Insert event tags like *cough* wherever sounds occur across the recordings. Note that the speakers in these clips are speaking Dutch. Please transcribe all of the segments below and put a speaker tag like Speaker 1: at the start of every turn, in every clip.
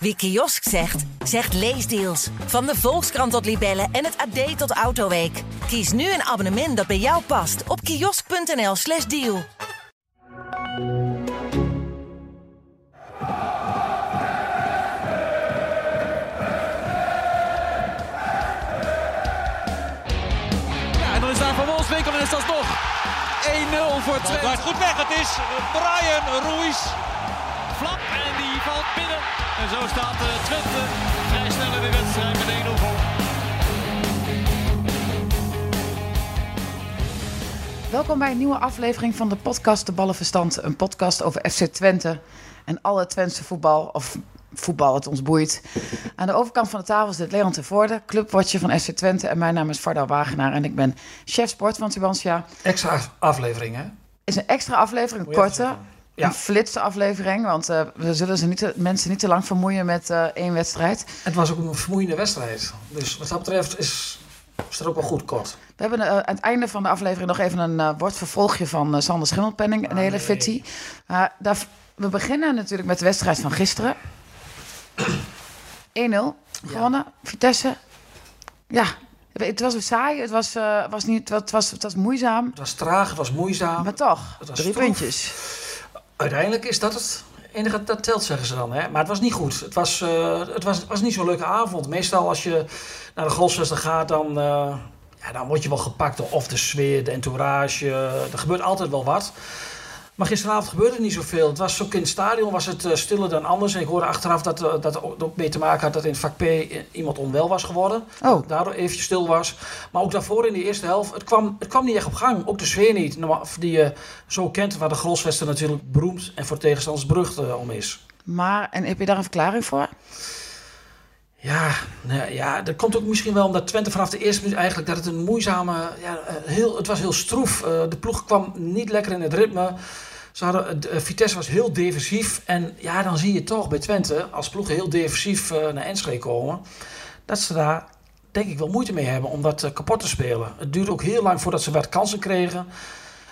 Speaker 1: Wie kiosk zegt, zegt leesdeals. Van de Volkskrant tot Libellen en het AD tot Autoweek. Kies nu een abonnement dat bij jou past op kiosk.nl/slash deal.
Speaker 2: Ja, en dan is daar Van Wolfswinkel en is dat nog 1-0 voor Twente.
Speaker 3: Gaat goed weg, het is Brian Ruiz.
Speaker 2: flap en die valt binnen. En zo staat eh, Twente vrij snel in de wedstrijd met 1-0 voor.
Speaker 4: Welkom bij een nieuwe aflevering van de podcast De Ballenverstand. Een podcast over FC Twente en alle Twentse voetbal, of voetbal het ons boeit. Aan de overkant van de tafel zit Leon Tervoorde, clubwatcher van FC Twente. En mijn naam is Varda Wagenaar en ik ben chef sport van Tubantia.
Speaker 5: extra aflevering, hè?
Speaker 4: is een extra aflevering, een korte,
Speaker 5: Ja.
Speaker 4: een flitse aflevering. Want eh, we zullen ze niet te- mensen niet te lang vermoeien met eh, één wedstrijd.
Speaker 5: Het was ook een vermoeiende wedstrijd. Dus wat dat betreft is, is het ook wel goed kort.
Speaker 4: We hebben eh, aan het einde van de aflevering nog even een eh woordvervolgje van eh, Sander Schimmelpenning,
Speaker 5: Ah,
Speaker 4: een hele fitty. Eh, daar, we beginnen natuurlijk met de wedstrijd van gisteren. *clears throat* 1-0 gewonnen, Vitesse. Ja, het was saai, het was, eh, was, niet, het was, het was moeizaam,
Speaker 5: Het was traag, het was moeizaam.
Speaker 4: maar toch,
Speaker 5: het was
Speaker 4: drie
Speaker 5: stroef.
Speaker 4: puntjes.
Speaker 5: Uiteindelijk is dat het enige dat telt, zeggen ze dan. Hè? Maar het was niet goed. Het was, eh, het was, het was niet zo'n leuke avond. Meestal als je naar de golfswedstrijd gaat, dan, eh, ja, dan word je wel gepakt door of de sfeer, de entourage. Er gebeurt altijd wel wat. Maar gisteravond gebeurde er niet zoveel. Het was ook in het stadion was het eh, stiller dan anders. En ik hoorde achteraf dat eh, dat er ook ook mee te maken had dat in vak P eh, iemand onwel was geworden.
Speaker 4: Oh,
Speaker 5: daardoor eventjes stil was. Maar ook daarvoor in de eerste helft, het kwam, het kwam niet echt op gang. Ook de sfeer niet, Nou, of die je zo kent, waar de Grosvesten natuurlijk beroemd en voor tegenstanders berucht eh, om is.
Speaker 4: maar, en heb je daar een verklaring voor?
Speaker 5: Ja, nou ja, ja, dat komt ook misschien wel omdat Twente vanaf de eerste minuut eigenlijk dat het een moeizame, ja, eh, heel, het was heel stroef. Eh, de ploeg kwam niet lekker in het ritme. Ze hadden, eh, de- eh, Vitesse was heel defensief en ja, dan zie je toch bij Twente als ploegen heel defensief eh, naar Enschede komen, dat ze daar denk ik wel moeite mee hebben om dat eh, kapot te spelen. Het duurde ook heel lang voordat ze wat kansen kregen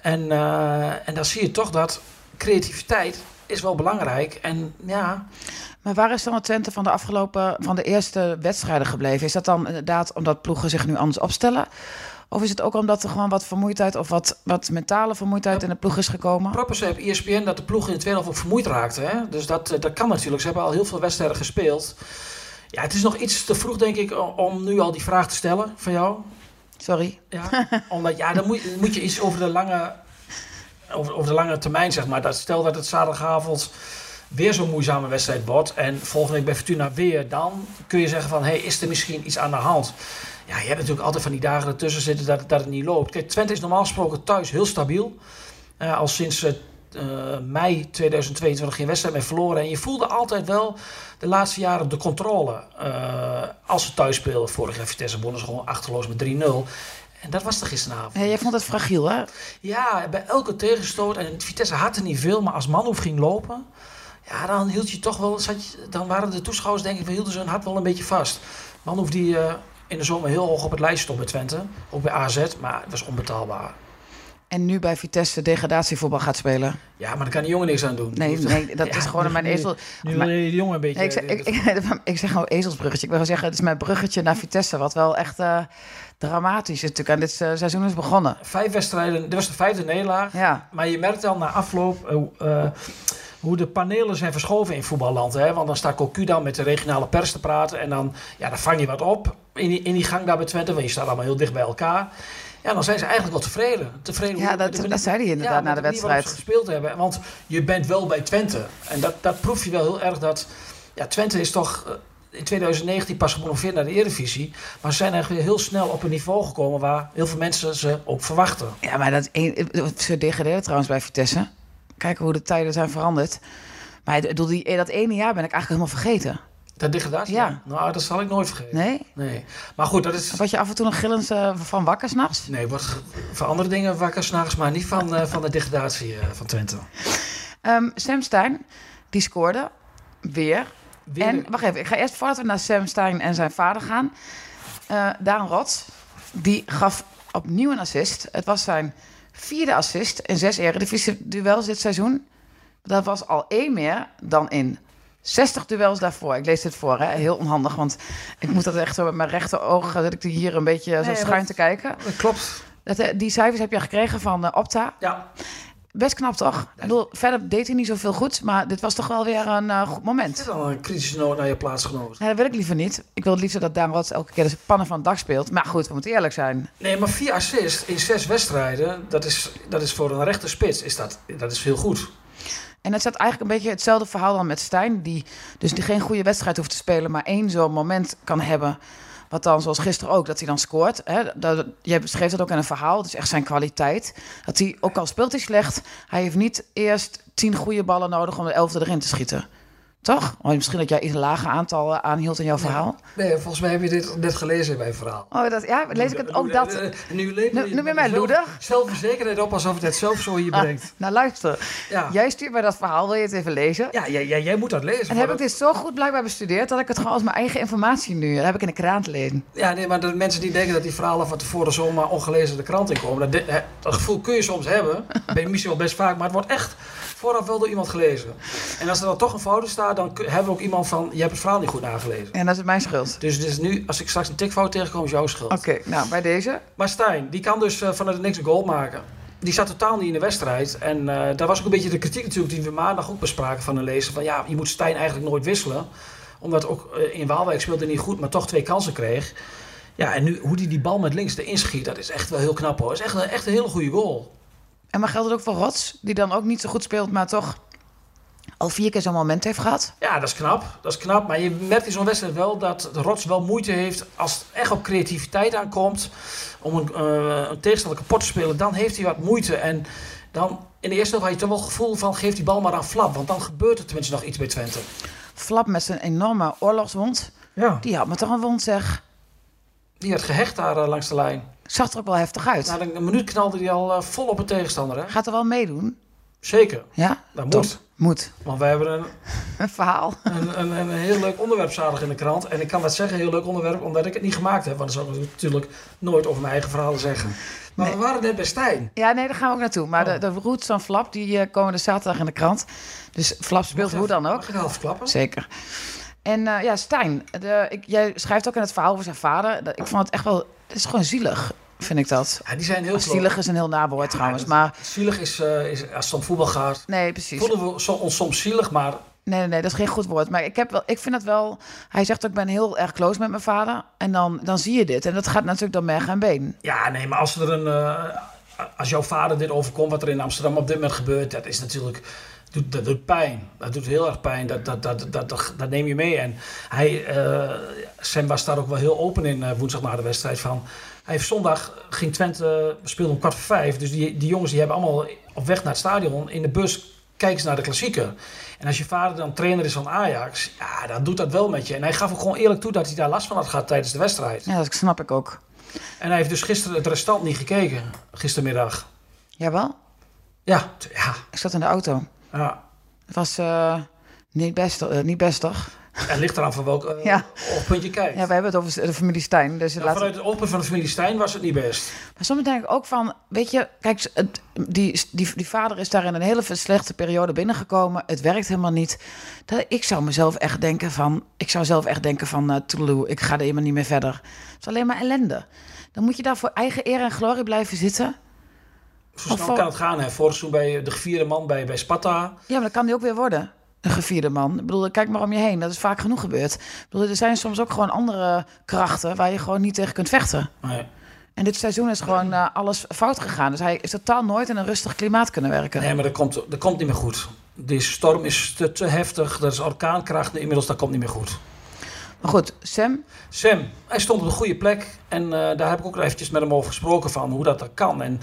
Speaker 5: en, eh, en dan zie je toch dat creativiteit is wel belangrijk en ja,
Speaker 4: Maar waar is dan het Twente van de afgelopen, van de eerste wedstrijden gebleven? Is dat dan inderdaad omdat ploegen zich nu anders opstellen? Of is het ook omdat er gewoon wat vermoeidheid of wat, wat mentale vermoeidheid in de ploeg is gekomen?
Speaker 5: Proppen zei op E ESPN dat de ploeg in de tweede helft ook vermoeid raakte. Hè? Dus dat, eh, dat kan natuurlijk. Ze hebben al heel veel wedstrijden gespeeld. Ja, het is nog iets te vroeg, denk ik, o- om nu al die vraag te stellen van jou.
Speaker 4: Sorry.
Speaker 5: Ja, omdat, ja dan moet, moet je iets over de lange, over, over de lange termijn, zeg maar. Dat, stel dat het zaterdagavond weer zo'n moeizame wedstrijd wordt... en volgende week bij Fortuna weer, dan kun je zeggen van... hé, hey, is er misschien iets aan de hand? Ja, je hebt natuurlijk altijd van die dagen ertussen zitten dat, dat het niet loopt. Kijk, Twente is normaal gesproken thuis heel stabiel. Eh, al sinds eh, eh, mei 2022 geen wedstrijd meer verloren. En je voelde altijd wel de laatste jaren de controle. eh, als ze thuis speelden. Vorig jaar Vitesse wonnen ze gewoon achterloos met 3-0. En dat was er gisteravond.
Speaker 4: Hey, jij vond het fragiel, hè?
Speaker 5: Ja, bij elke tegenstoot. En Vitesse had er niet veel. Maar als Manhoef ging lopen. Ja, dan hield je toch wel. Zat je, dan waren de toeschouwers, denk ik, we hielden ze hun hart wel een beetje vast. Manhoef die eh, in de zomer heel hoog op het lijst stond bij Twente. Ook bij AZ. Maar het was onbetaalbaar.
Speaker 4: En nu bij Vitesse degradatievoetbal gaat spelen.
Speaker 5: Ja, maar daar kan die jongen niks aan doen.
Speaker 4: Nee,
Speaker 5: *laughs*
Speaker 4: nee dat
Speaker 5: Ja,
Speaker 4: is gewoon
Speaker 5: nu-
Speaker 4: mijn
Speaker 5: nu-
Speaker 4: ezel.
Speaker 5: Nu
Speaker 4: maar-
Speaker 5: wil je die jongen een beetje...
Speaker 4: Nee, ik, zeg,
Speaker 5: eh,
Speaker 4: ik, ik, *laughs* ik zeg gewoon ezelsbruggetje. Ik wil zeggen, het is mijn bruggetje naar Vitesse, wat wel echt eh, dramatisch is natuurlijk aan dit eh, seizoen is begonnen.
Speaker 5: Vijf wedstrijden, dit was de vijfde nederlaag.
Speaker 4: Ja,
Speaker 5: Maar je merkt al na afloop eh, hoe, eh, hoe de panelen zijn verschoven in voetballand. Hè? Want dan staat Cocu dan met de regionale pers te praten. En dan, ja, dan vang je wat op in die, in die gang daar bij Twente. Want je staat allemaal heel dicht bij elkaar. Ja, dan zijn ze eigenlijk wel tevreden. tevreden
Speaker 4: ja
Speaker 5: hoe-
Speaker 4: dat,
Speaker 5: met de manier-
Speaker 4: dat zei hij inderdaad
Speaker 5: ja,
Speaker 4: na
Speaker 5: met
Speaker 4: de
Speaker 5: manier waarop
Speaker 4: wedstrijd.
Speaker 5: ze gespeeld hebben. Want je bent wel bij Twente. En dat, dat proef je wel heel erg. Dat, ja, Twente is toch eh, in 2019 pas gepromoveerd naar de Eredivisie. Maar ze zijn eigenlijk weer heel snel op een niveau gekomen waar heel veel mensen ze ook verwachten.
Speaker 4: Ja, maar dat een, ze degradeerden trouwens bij Vitesse. Kijken hoe de tijden zijn veranderd. Maar ik bedoel, die, dat ene jaar ben ik eigenlijk helemaal vergeten.
Speaker 5: Dat degradatie?
Speaker 4: Ja.
Speaker 5: Nou, dat zal ik nooit vergeten.
Speaker 4: Nee?
Speaker 5: Nee. Maar goed, dat is...
Speaker 4: Word je af en toe nog gillend eh, van wakker s'nachts?
Speaker 5: Nee, wordt ge- van andere dingen wakker s'nachts, maar niet van, eh, van de degradatie eh, van Twente.
Speaker 4: Ehm Sam Stein, die scoorde. Weer.
Speaker 5: Weer
Speaker 4: en,
Speaker 5: de-
Speaker 4: wacht even, ik ga eerst voordat we naar Sam Stein en zijn vader gaan. Eh Daan Rots, die gaf opnieuw een assist. Het was zijn vierde assist in zes eredivisie-duels dit seizoen. Dat was al één meer dan in 60 duels daarvoor. Ik lees dit voor, hè? heel onhandig. Want ik moet dat echt zo met mijn rechteroog... eh, zit ik hier een beetje eh, zo
Speaker 5: Nee,
Speaker 4: schuin
Speaker 5: dat-
Speaker 4: te kijken.
Speaker 5: Dat klopt.
Speaker 4: Dat, eh, die cijfers heb je gekregen van eh, Opta.
Speaker 5: Ja,
Speaker 4: Best knap, toch? Ik bedoel, verder deed hij niet zoveel goed. Maar dit was toch wel weer een eh, goed moment.
Speaker 5: dit is al een kritische noot naar je plaatsgenoot.
Speaker 4: Nee, dat wil ik liever niet. Ik wil het liefst dat Daan Rots elke keer de pannen van het dak speelt. Maar goed, we moeten eerlijk zijn.
Speaker 5: Nee, maar vier assists in zes wedstrijden, dat is, dat is voor een rechte spits is dat, dat is heel goed.
Speaker 4: En het staat eigenlijk een beetje hetzelfde verhaal dan met Stijn. Die dus die geen goede wedstrijd hoeft te spelen, maar één zo'n moment kan hebben. Wat dan, zoals gisteren ook, dat hij dan scoort. Hè? Dat, jij beschreef dat ook in een verhaal. Het is echt zijn kwaliteit. Dat hij, ook al speelt hij slecht, hij heeft niet eerst tien goede ballen nodig om de elfde erin te schieten. Toch? Oh, misschien dat jij iets lager aantal eh, aanhield in jouw verhaal.
Speaker 5: Nee, volgens mij heb je dit net gelezen in mijn verhaal.
Speaker 4: Oh, dat, ja, lees ik het ook dat.
Speaker 5: Nu leef
Speaker 4: Nu- nu ben jij loedig.
Speaker 5: Zelfverzekerdheid op alsof het het zelf zo hier
Speaker 4: Ah,
Speaker 5: brengt.
Speaker 4: nou, luister.
Speaker 5: Ja.
Speaker 4: Jij stuurt mij dat verhaal. Wil je het even lezen?
Speaker 5: Ja, jij, jij, jij moet dat lezen.
Speaker 4: En
Speaker 5: maar
Speaker 4: heb ik
Speaker 5: dat-
Speaker 4: dit zo goed blijkbaar bestudeerd dat ik het gewoon als mijn eigen informatie nu. Dat heb ik in de kraan gelezen.
Speaker 5: Ja, nee, maar de mensen die denken dat die verhalen van tevoren zomaar ongelezen de krant in komen. Dat, de- hè, dat gevoel kun je soms hebben. Bij missie wel best vaak, maar het wordt echt vooraf wel door iemand gelezen. En als er dan toch een fout in staat, dan kun- hebben we ook iemand van: je hebt het verhaal niet goed nagelezen.
Speaker 4: En dat is mijn schuld.
Speaker 5: Dus, dus nu, als ik straks een tikfout tegenkom, is jouw schuld.
Speaker 4: Oké, nou bij deze.
Speaker 5: Maar Stijn, die kan dus eh, vanuit niks een goal maken. Die zat totaal niet in de wedstrijd. En eh, daar was ook een beetje de kritiek natuurlijk die we maandag ook bespraken van de lezer. Van ja, je moet Stijn eigenlijk nooit wisselen. Omdat ook eh, in Waalwijk speelde hij niet goed, maar toch twee kansen kreeg. Ja, en nu hoe die die bal met links erin schiet, dat is echt wel heel knap hoor. Dat is echt, een- echt een hele goede goal.
Speaker 4: En maar geldt het ook voor Rots, die dan ook niet zo goed speelt, maar toch al vier keer zo'n moment heeft gehad?
Speaker 5: Ja, dat is knap. Dat is knap. Maar je merkt in zo'n wedstrijd wel dat Rots wel moeite heeft als het echt op creativiteit aankomt. Om een, eh, een tegenstander kapot te spelen, dan heeft hij wat moeite. En dan in de eerste helft had je toch wel het gevoel van geef die bal maar aan Flap. Want dan gebeurt er tenminste nog iets bij Twente.
Speaker 4: Flap met zijn enorme oorlogswond.
Speaker 5: Ja.
Speaker 4: Die had me toch een wond, zeg.
Speaker 5: Die had gehecht daar eh, langs de lijn.
Speaker 4: Zag er ook wel heftig uit.
Speaker 5: Na een, een minuut knalde hij al eh, vol op een tegenstander. Hè?
Speaker 4: Gaat er wel meedoen?
Speaker 5: Zeker.
Speaker 4: Ja?
Speaker 5: Dat moet.
Speaker 4: Top. Moet. *laughs*
Speaker 5: Want wij hebben een,
Speaker 4: Een verhaal.
Speaker 5: een, een, een heel leuk onderwerp zaterdag in de krant. En ik kan dat zeggen, heel leuk onderwerp, omdat ik het niet gemaakt heb. Want dan zou ik natuurlijk nooit over mijn eigen verhalen zeggen. Maar we waren net bij Stijn.
Speaker 4: Ja, nee, daar gaan we ook naartoe.
Speaker 5: Oh.
Speaker 4: Maar de, de roots van Flap, die eh, komen dus zaterdag in de krant. Dus Flap speelt hoe dan ook.
Speaker 5: Mag ik het half klappen?
Speaker 4: Zeker. En eh, ja, Stijn, de, ik, jij schrijft ook in het verhaal over zijn vader. Dat, ik vond het echt wel... Het is gewoon zielig, vind ik dat.
Speaker 5: Ja, die zijn heel kloot.
Speaker 4: Zielig is een heel naboord woord trouwens, maar...
Speaker 5: Zielig is, eh, is als het om voetbal gaat.
Speaker 4: Nee, precies. Nee,
Speaker 5: Voelen we zo- ons soms zielig, maar
Speaker 4: nee, nee, dat is geen goed woord. Maar ik, heb wel, ik vind dat wel... Hij zegt ook, ik ben heel erg close met mijn vader. En dan, dan zie je dit. En dat gaat natuurlijk dan merg en been.
Speaker 5: ja, nee, maar als er een. eh, als jouw vader dit overkomt, wat er in Amsterdam op dit moment gebeurt, dat is natuurlijk. Doet, dat doet pijn. Dat doet heel erg pijn. Dat, dat, dat, dat, dat, dat neem je mee. En hij, eh Sam was daar ook wel heel open in eh, woensdag na de wedstrijd. Van, hij heeft zondag ging Twente eh, speelde om kwart voor vijf. Dus die, die jongens die hebben allemaal op weg naar het stadion in de bus kijken ze naar de klassieker. En als je vader dan trainer is van Ajax, ja, dan doet dat wel met je. En hij gaf ook gewoon eerlijk toe dat hij daar last van had gehad tijdens de wedstrijd.
Speaker 4: Ja, dat snap ik ook.
Speaker 5: En hij heeft dus gisteren het restant niet gekeken, gistermiddag.
Speaker 4: Jawel?
Speaker 5: Ja, t- ja,
Speaker 4: Ik zat in de auto.
Speaker 5: ja.
Speaker 4: Het was eh, niet, best, eh, niet best, toch?
Speaker 5: Het ligt eraan van welk eh,
Speaker 4: Ja.
Speaker 5: oogpunt je kijkt.
Speaker 4: Ja, we hebben het over de familie Stijn. Dus
Speaker 5: Nou,
Speaker 4: laten we-
Speaker 5: vanuit het oogpunt van de familie Stijn was het niet best.
Speaker 4: Maar soms denk ik ook van, weet je, kijk, het- die, die, die vader is daar in een hele slechte periode binnengekomen. Het werkt helemaal niet. Dat, ik zou mezelf echt denken van, ik zou zelf echt denken van, eh toedeloe, ik ga er helemaal niet meer verder. Het is alleen maar ellende. Dan moet je daar voor eigen eer en glorie blijven zitten.
Speaker 5: Zo
Speaker 4: Of
Speaker 5: snel
Speaker 4: voor-
Speaker 5: kan het gaan. Hè. Vorig seizoen bij eh, de gevierde man bij, bij Sparta.
Speaker 4: Ja, maar dat kan die ook weer worden. Een gevierde man. Ik bedoel, kijk maar om je heen. Dat is vaak genoeg gebeurd. Ik bedoel, er zijn soms ook gewoon andere krachten waar je gewoon niet tegen kunt vechten.
Speaker 5: Nee.
Speaker 4: En dit seizoen is gewoon eh, alles fout gegaan. Dus hij is totaal nooit in een rustig klimaat kunnen werken.
Speaker 5: Nee, maar dat komt, dat komt niet meer goed. Deze storm is te, te heftig. Dat is orkaankracht. Inmiddels, dat komt niet meer goed.
Speaker 4: Maar goed, Sam,
Speaker 5: Sam, hij stond op een goede plek. En eh, daar heb ik ook eventjes met hem over gesproken van hoe dat dan kan. En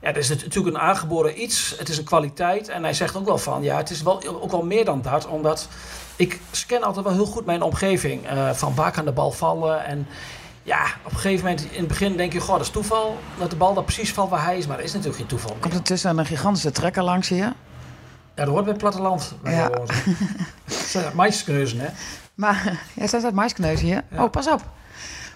Speaker 5: ja, het is nat- natuurlijk een aangeboren iets. Het is een kwaliteit. En hij zegt ook wel van, ja, het is wel, ook wel meer dan dat. Omdat ik scan altijd wel heel goed mijn omgeving. eh, van waar kan de bal vallen? En ja, op een gegeven moment in het begin denk je, goh, dat is toeval. Dat de bal dan precies valt waar hij is. Maar dat is natuurlijk geen toeval.
Speaker 4: Komt er tussen een gigantische trekker langs hier.
Speaker 5: Ja, dat hoort bij het platteland. bij
Speaker 4: Ja.
Speaker 5: de woorden. Dat zijn Maïskneuzen, hè?
Speaker 4: *laughs* Maar jij staat uit maiskneus hier. Oh, pas op.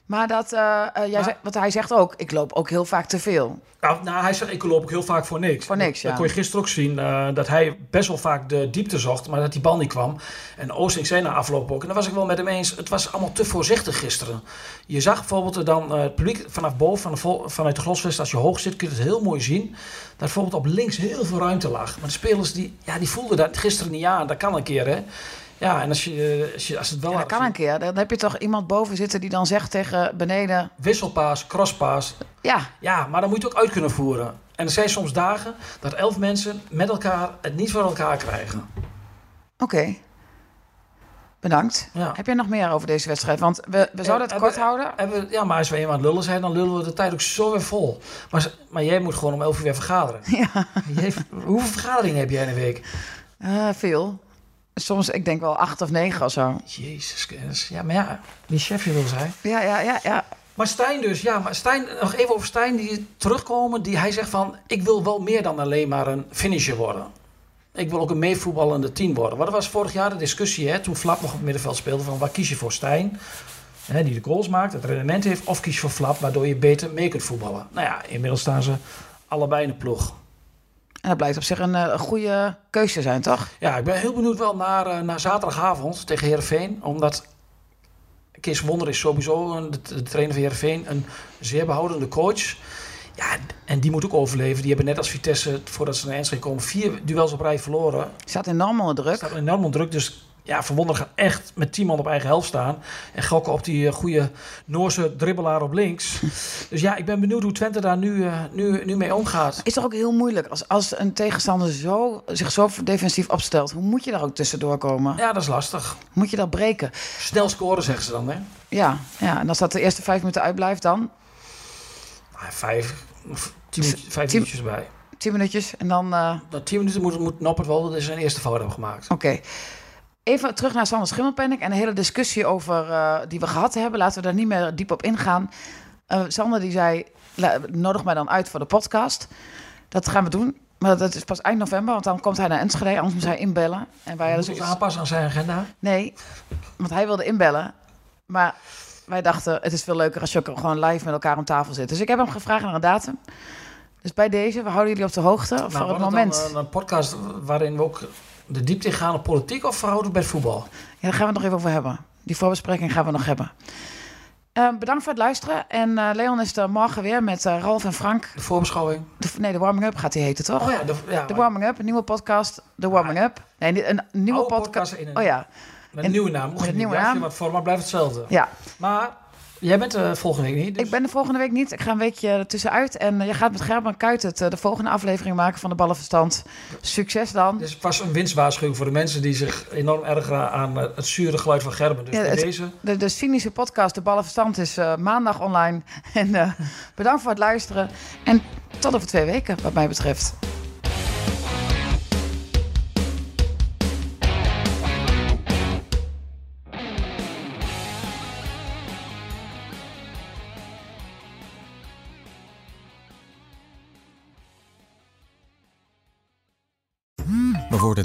Speaker 4: Maar dat, eh, eh, jij
Speaker 5: Maar-
Speaker 4: zei- want hij zegt ook, ik loop ook heel vaak te veel.
Speaker 5: Nou, nou, hij zegt, ik loop ook heel vaak voor niks.
Speaker 4: Voor niks, ja.
Speaker 5: Dat kon je gisteren ook zien, eh, dat hij best wel vaak de diepte zocht, maar dat die bal niet kwam. En Oosting zei na afloop ook, en dat was ik wel met hem eens, het was allemaal te voorzichtig gisteren. Je zag bijvoorbeeld eh, dan eh, het publiek vanaf boven, van de vol- vanuit de glasvest, als je hoog zit, kun je het heel mooi zien. Dat bijvoorbeeld op links heel veel ruimte lag. Maar de spelers, die, ja, die voelden dat gisteren niet aan, dat kan een keer, hè. Ja, en als, je, eh, als, je, als het wel...
Speaker 4: En dat kan een keer. Dan heb je toch iemand boven zitten die dan zegt tegen beneden...
Speaker 5: Wisselpaas, crosspaas,
Speaker 4: Ja,
Speaker 5: Ja, maar dan moet je het ook uit kunnen voeren. En er zijn soms dagen dat elf mensen met elkaar het niet voor elkaar krijgen.
Speaker 4: oké. Bedankt.
Speaker 5: Ja.
Speaker 4: Heb jij nog meer over deze wedstrijd? Want we, we zouden het
Speaker 5: Eh,
Speaker 4: kort
Speaker 5: hebben-
Speaker 4: houden. *laughs*
Speaker 5: Hebben we- ja, maar als we eenmaal aan het lullen zijn, dan lullen we de tijd ook zo weer vol. Maar, ze- maar jij moet gewoon om elf uur weer vergaderen. *laughs*
Speaker 4: Ja,
Speaker 5: Jij- hoeveel vergaderingen heb jij in een week?
Speaker 4: eh, veel. Soms, ik denk wel acht of negen of zo.
Speaker 5: Jezus Christus. Ja, maar ja, die chef je wil zijn.
Speaker 4: Ja, ja, ja, ja.
Speaker 5: Maar Stijn dus, ja, maar Stijn, nog even over Stijn die terugkomen. Die, hij zegt van, ik wil wel meer dan alleen maar een finisher worden. Ik wil ook een meevoetballende team worden. Maar dat was vorig jaar de discussie, hè, toen Flap nog op het middenveld speelde, van waar kies je voor Stijn? Hè, die de goals maakt, het rendement heeft, of kies je voor Flap, waardoor je beter mee kunt voetballen. Nou ja, inmiddels staan ze allebei in de ploeg.
Speaker 4: En dat blijkt op zich een eh, goede keuze te zijn, toch?
Speaker 5: Ja, ik ben heel benieuwd wel naar, eh, naar zaterdagavond tegen Heerenveen. Omdat Kees Wonder is sowieso, een, de, de trainer van Heerenveen, een zeer behoudende coach. Ja, en die moet ook overleven. Die hebben net als Vitesse, voordat ze naar Enschede komen, vier duels op rij verloren.
Speaker 4: Staat enorm onder druk.
Speaker 5: staat enorm onder druk, dus ja, Van Wonder gaat echt met tien man op eigen helft staan. En gokken op die eh, goede Noorse dribbelaar op links. dus ja, ik ben benieuwd hoe Twente daar nu, eh, nu, nu mee omgaat.
Speaker 4: Is toch ook heel moeilijk als, als een tegenstander zo, zich zo defensief opstelt. Hoe moet je daar ook tussendoor komen?
Speaker 5: Ja, dat is lastig.
Speaker 4: Moet je dat breken?
Speaker 5: Snel scoren, zeggen ze dan, hè?
Speaker 4: Ja, ja, en als dat de eerste vijf minuten uitblijft dan?
Speaker 5: Nou, vijf, of tien, minuutjes- vijf
Speaker 4: Ah, Tien-
Speaker 5: minuutjes bij.
Speaker 4: Tien minuutjes en dan... eh,
Speaker 5: Na tien minuten moet, moet Noppert wel zijn eerste fout hebben gemaakt.
Speaker 4: Oké. Even terug naar Sander Schimmelpenninck en de hele discussie over eh, die we gehad hebben. Laten we daar niet meer diep op ingaan. Eh, Sander die zei, "La- nodig mij dan uit voor de podcast. Dat gaan we doen. Maar dat is pas eind november, want dan komt hij naar Enschede. Anders moet hij inbellen. En wij
Speaker 5: Hij
Speaker 4: hadden
Speaker 5: moet ons
Speaker 4: zoiets-
Speaker 5: aanpassen aan zijn agenda.
Speaker 4: Nee, want hij wilde inbellen. Maar wij dachten, het is veel leuker als je ook gewoon live met elkaar om tafel zit. Dus ik heb hem gevraagd naar een datum. Dus bij deze, we houden jullie op de hoogte voor
Speaker 5: wordt
Speaker 4: het
Speaker 5: dan eh,
Speaker 4: moment.
Speaker 5: Nou, een, een podcast waarin we ook de diepte in gaan op politiek of verhouden bij het voetbal?
Speaker 4: Ja, daar gaan we het nog even over hebben. Die voorbespreking gaan we nog hebben. Eh, bedankt voor het luisteren. En eh, Leon is er morgen weer met eh, Ralf en Frank.
Speaker 5: De voorbeschouwing.
Speaker 4: De, nee, de Warming Up gaat die heten, toch?
Speaker 5: Oh ja, de, ja,
Speaker 4: De Warming Up, een nieuwe podcast. De Warming Up. Nee, niet- een nieuwe
Speaker 5: Oude
Speaker 4: podca-
Speaker 5: podcast in een-
Speaker 4: Oh ja,
Speaker 5: met een nieuwe naam.
Speaker 4: Met een nieuwe naam.
Speaker 5: Wat voor, maar blijft hetzelfde.
Speaker 4: ja.
Speaker 5: Maar jij bent eh volgende week niet. dus-
Speaker 4: Ik ben de volgende week niet. Ik ga een weekje ertussenuit. En eh, je gaat met Gerben Kuitert eh, de volgende aflevering maken van de Ballenverstand. Succes dan.
Speaker 5: Dus het was een winstwaarschuwing voor de mensen die zich enorm ergeren aan eh, het zure geluid van Gerben. Dus
Speaker 4: Ja,
Speaker 5: bij
Speaker 4: het-
Speaker 5: deze.
Speaker 4: De, de cynische podcast De Ballenverstand is eh, maandag online. *laughs* En eh, bedankt voor het luisteren. En tot over twee weken, wat mij betreft.
Speaker 6: We worden